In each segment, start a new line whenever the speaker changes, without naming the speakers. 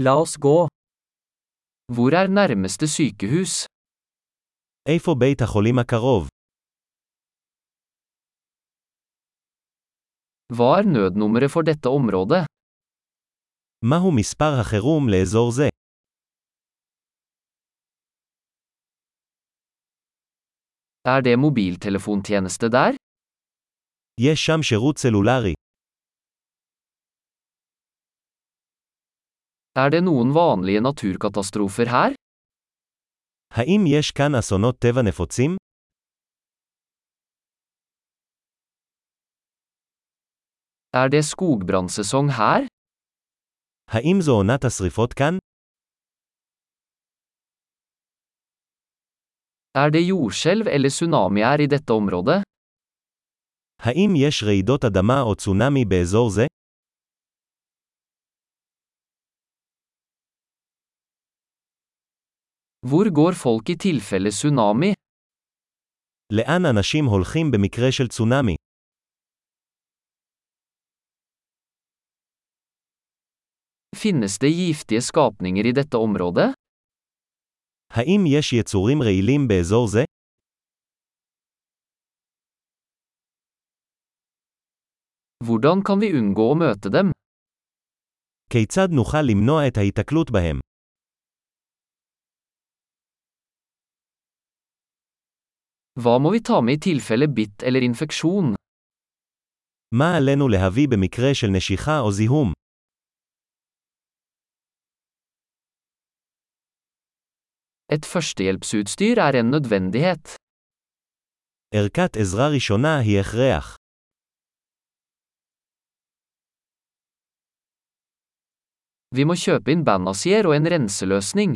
La oss gå. Hvor er nærmeste sykehus?
איפה בית החולים הקרוב?
Hva er nødnummeret for dette området?
מהו מספר החירום לאזור זה?
Er det mobiltelefontjeneste der?
יש שם שירות סלולרי.
Er det noen vanlige naturkatastrofer her?
האם יש כאן אסונות טבע נפוצים?
Er det skogbrannsesong her?
האם זו עונת השרפות כאן?
Er det jordskjelv eller tsunami her i dette området?
האם יש רעידות אדמה או צונאמי באזור זה?
Hvor går folk i tilfelle tsunami?
לאן אנשים הולכים במקרה של צונאמי?
Finnes det giftige skapninger i dette området?
האם יש יצורים רעילים באזור זה?
Hvordan kan vi unngå å møte dem?
כיצד נוכל למנוע את ההיתקלות בהם?
Hva må vi ta med i tilfelle bitt eller infeksjon?
מה עלינו להביא במקרה של נשיכה או זיהום?
Et førstehjelpsutstyr er en nødvendighet.
ערכת עזרה ראשונה היא הכרח.
Vi må kjøpe inn bandasier og en renseløsning.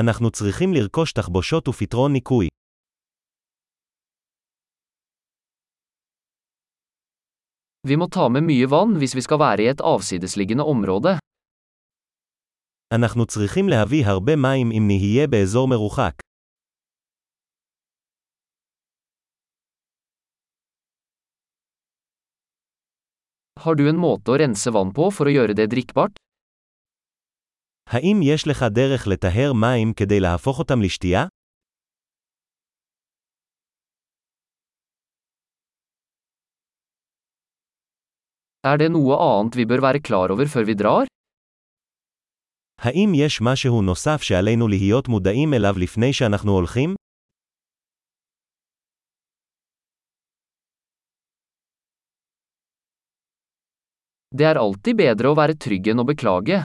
אנחנו צריכים לרכוש תחבושות ופתרון ניקוי.
Vi må ta med mye vann hvis vi skal være i et avsidesliggende område.
אנחנו צריכים להביא הרבה מים אם נהיה באזור מרוחק.
Har du en måte å rense vann på for å gjøre det drikkbart?
האם יש לך דרך לטהר מים כדי להפוך אותם לשתייה?
Er det noe annet vi bør være klar over før vi drar?
האם יש משהו נוסף שעלינו להיות מודעים אליו לפני שאנחנו הולכים?
Det er alltid bedre å være trygg enn å beklage.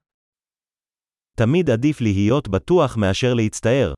תמיד עדיף להיות בטוח מאשר להצטער.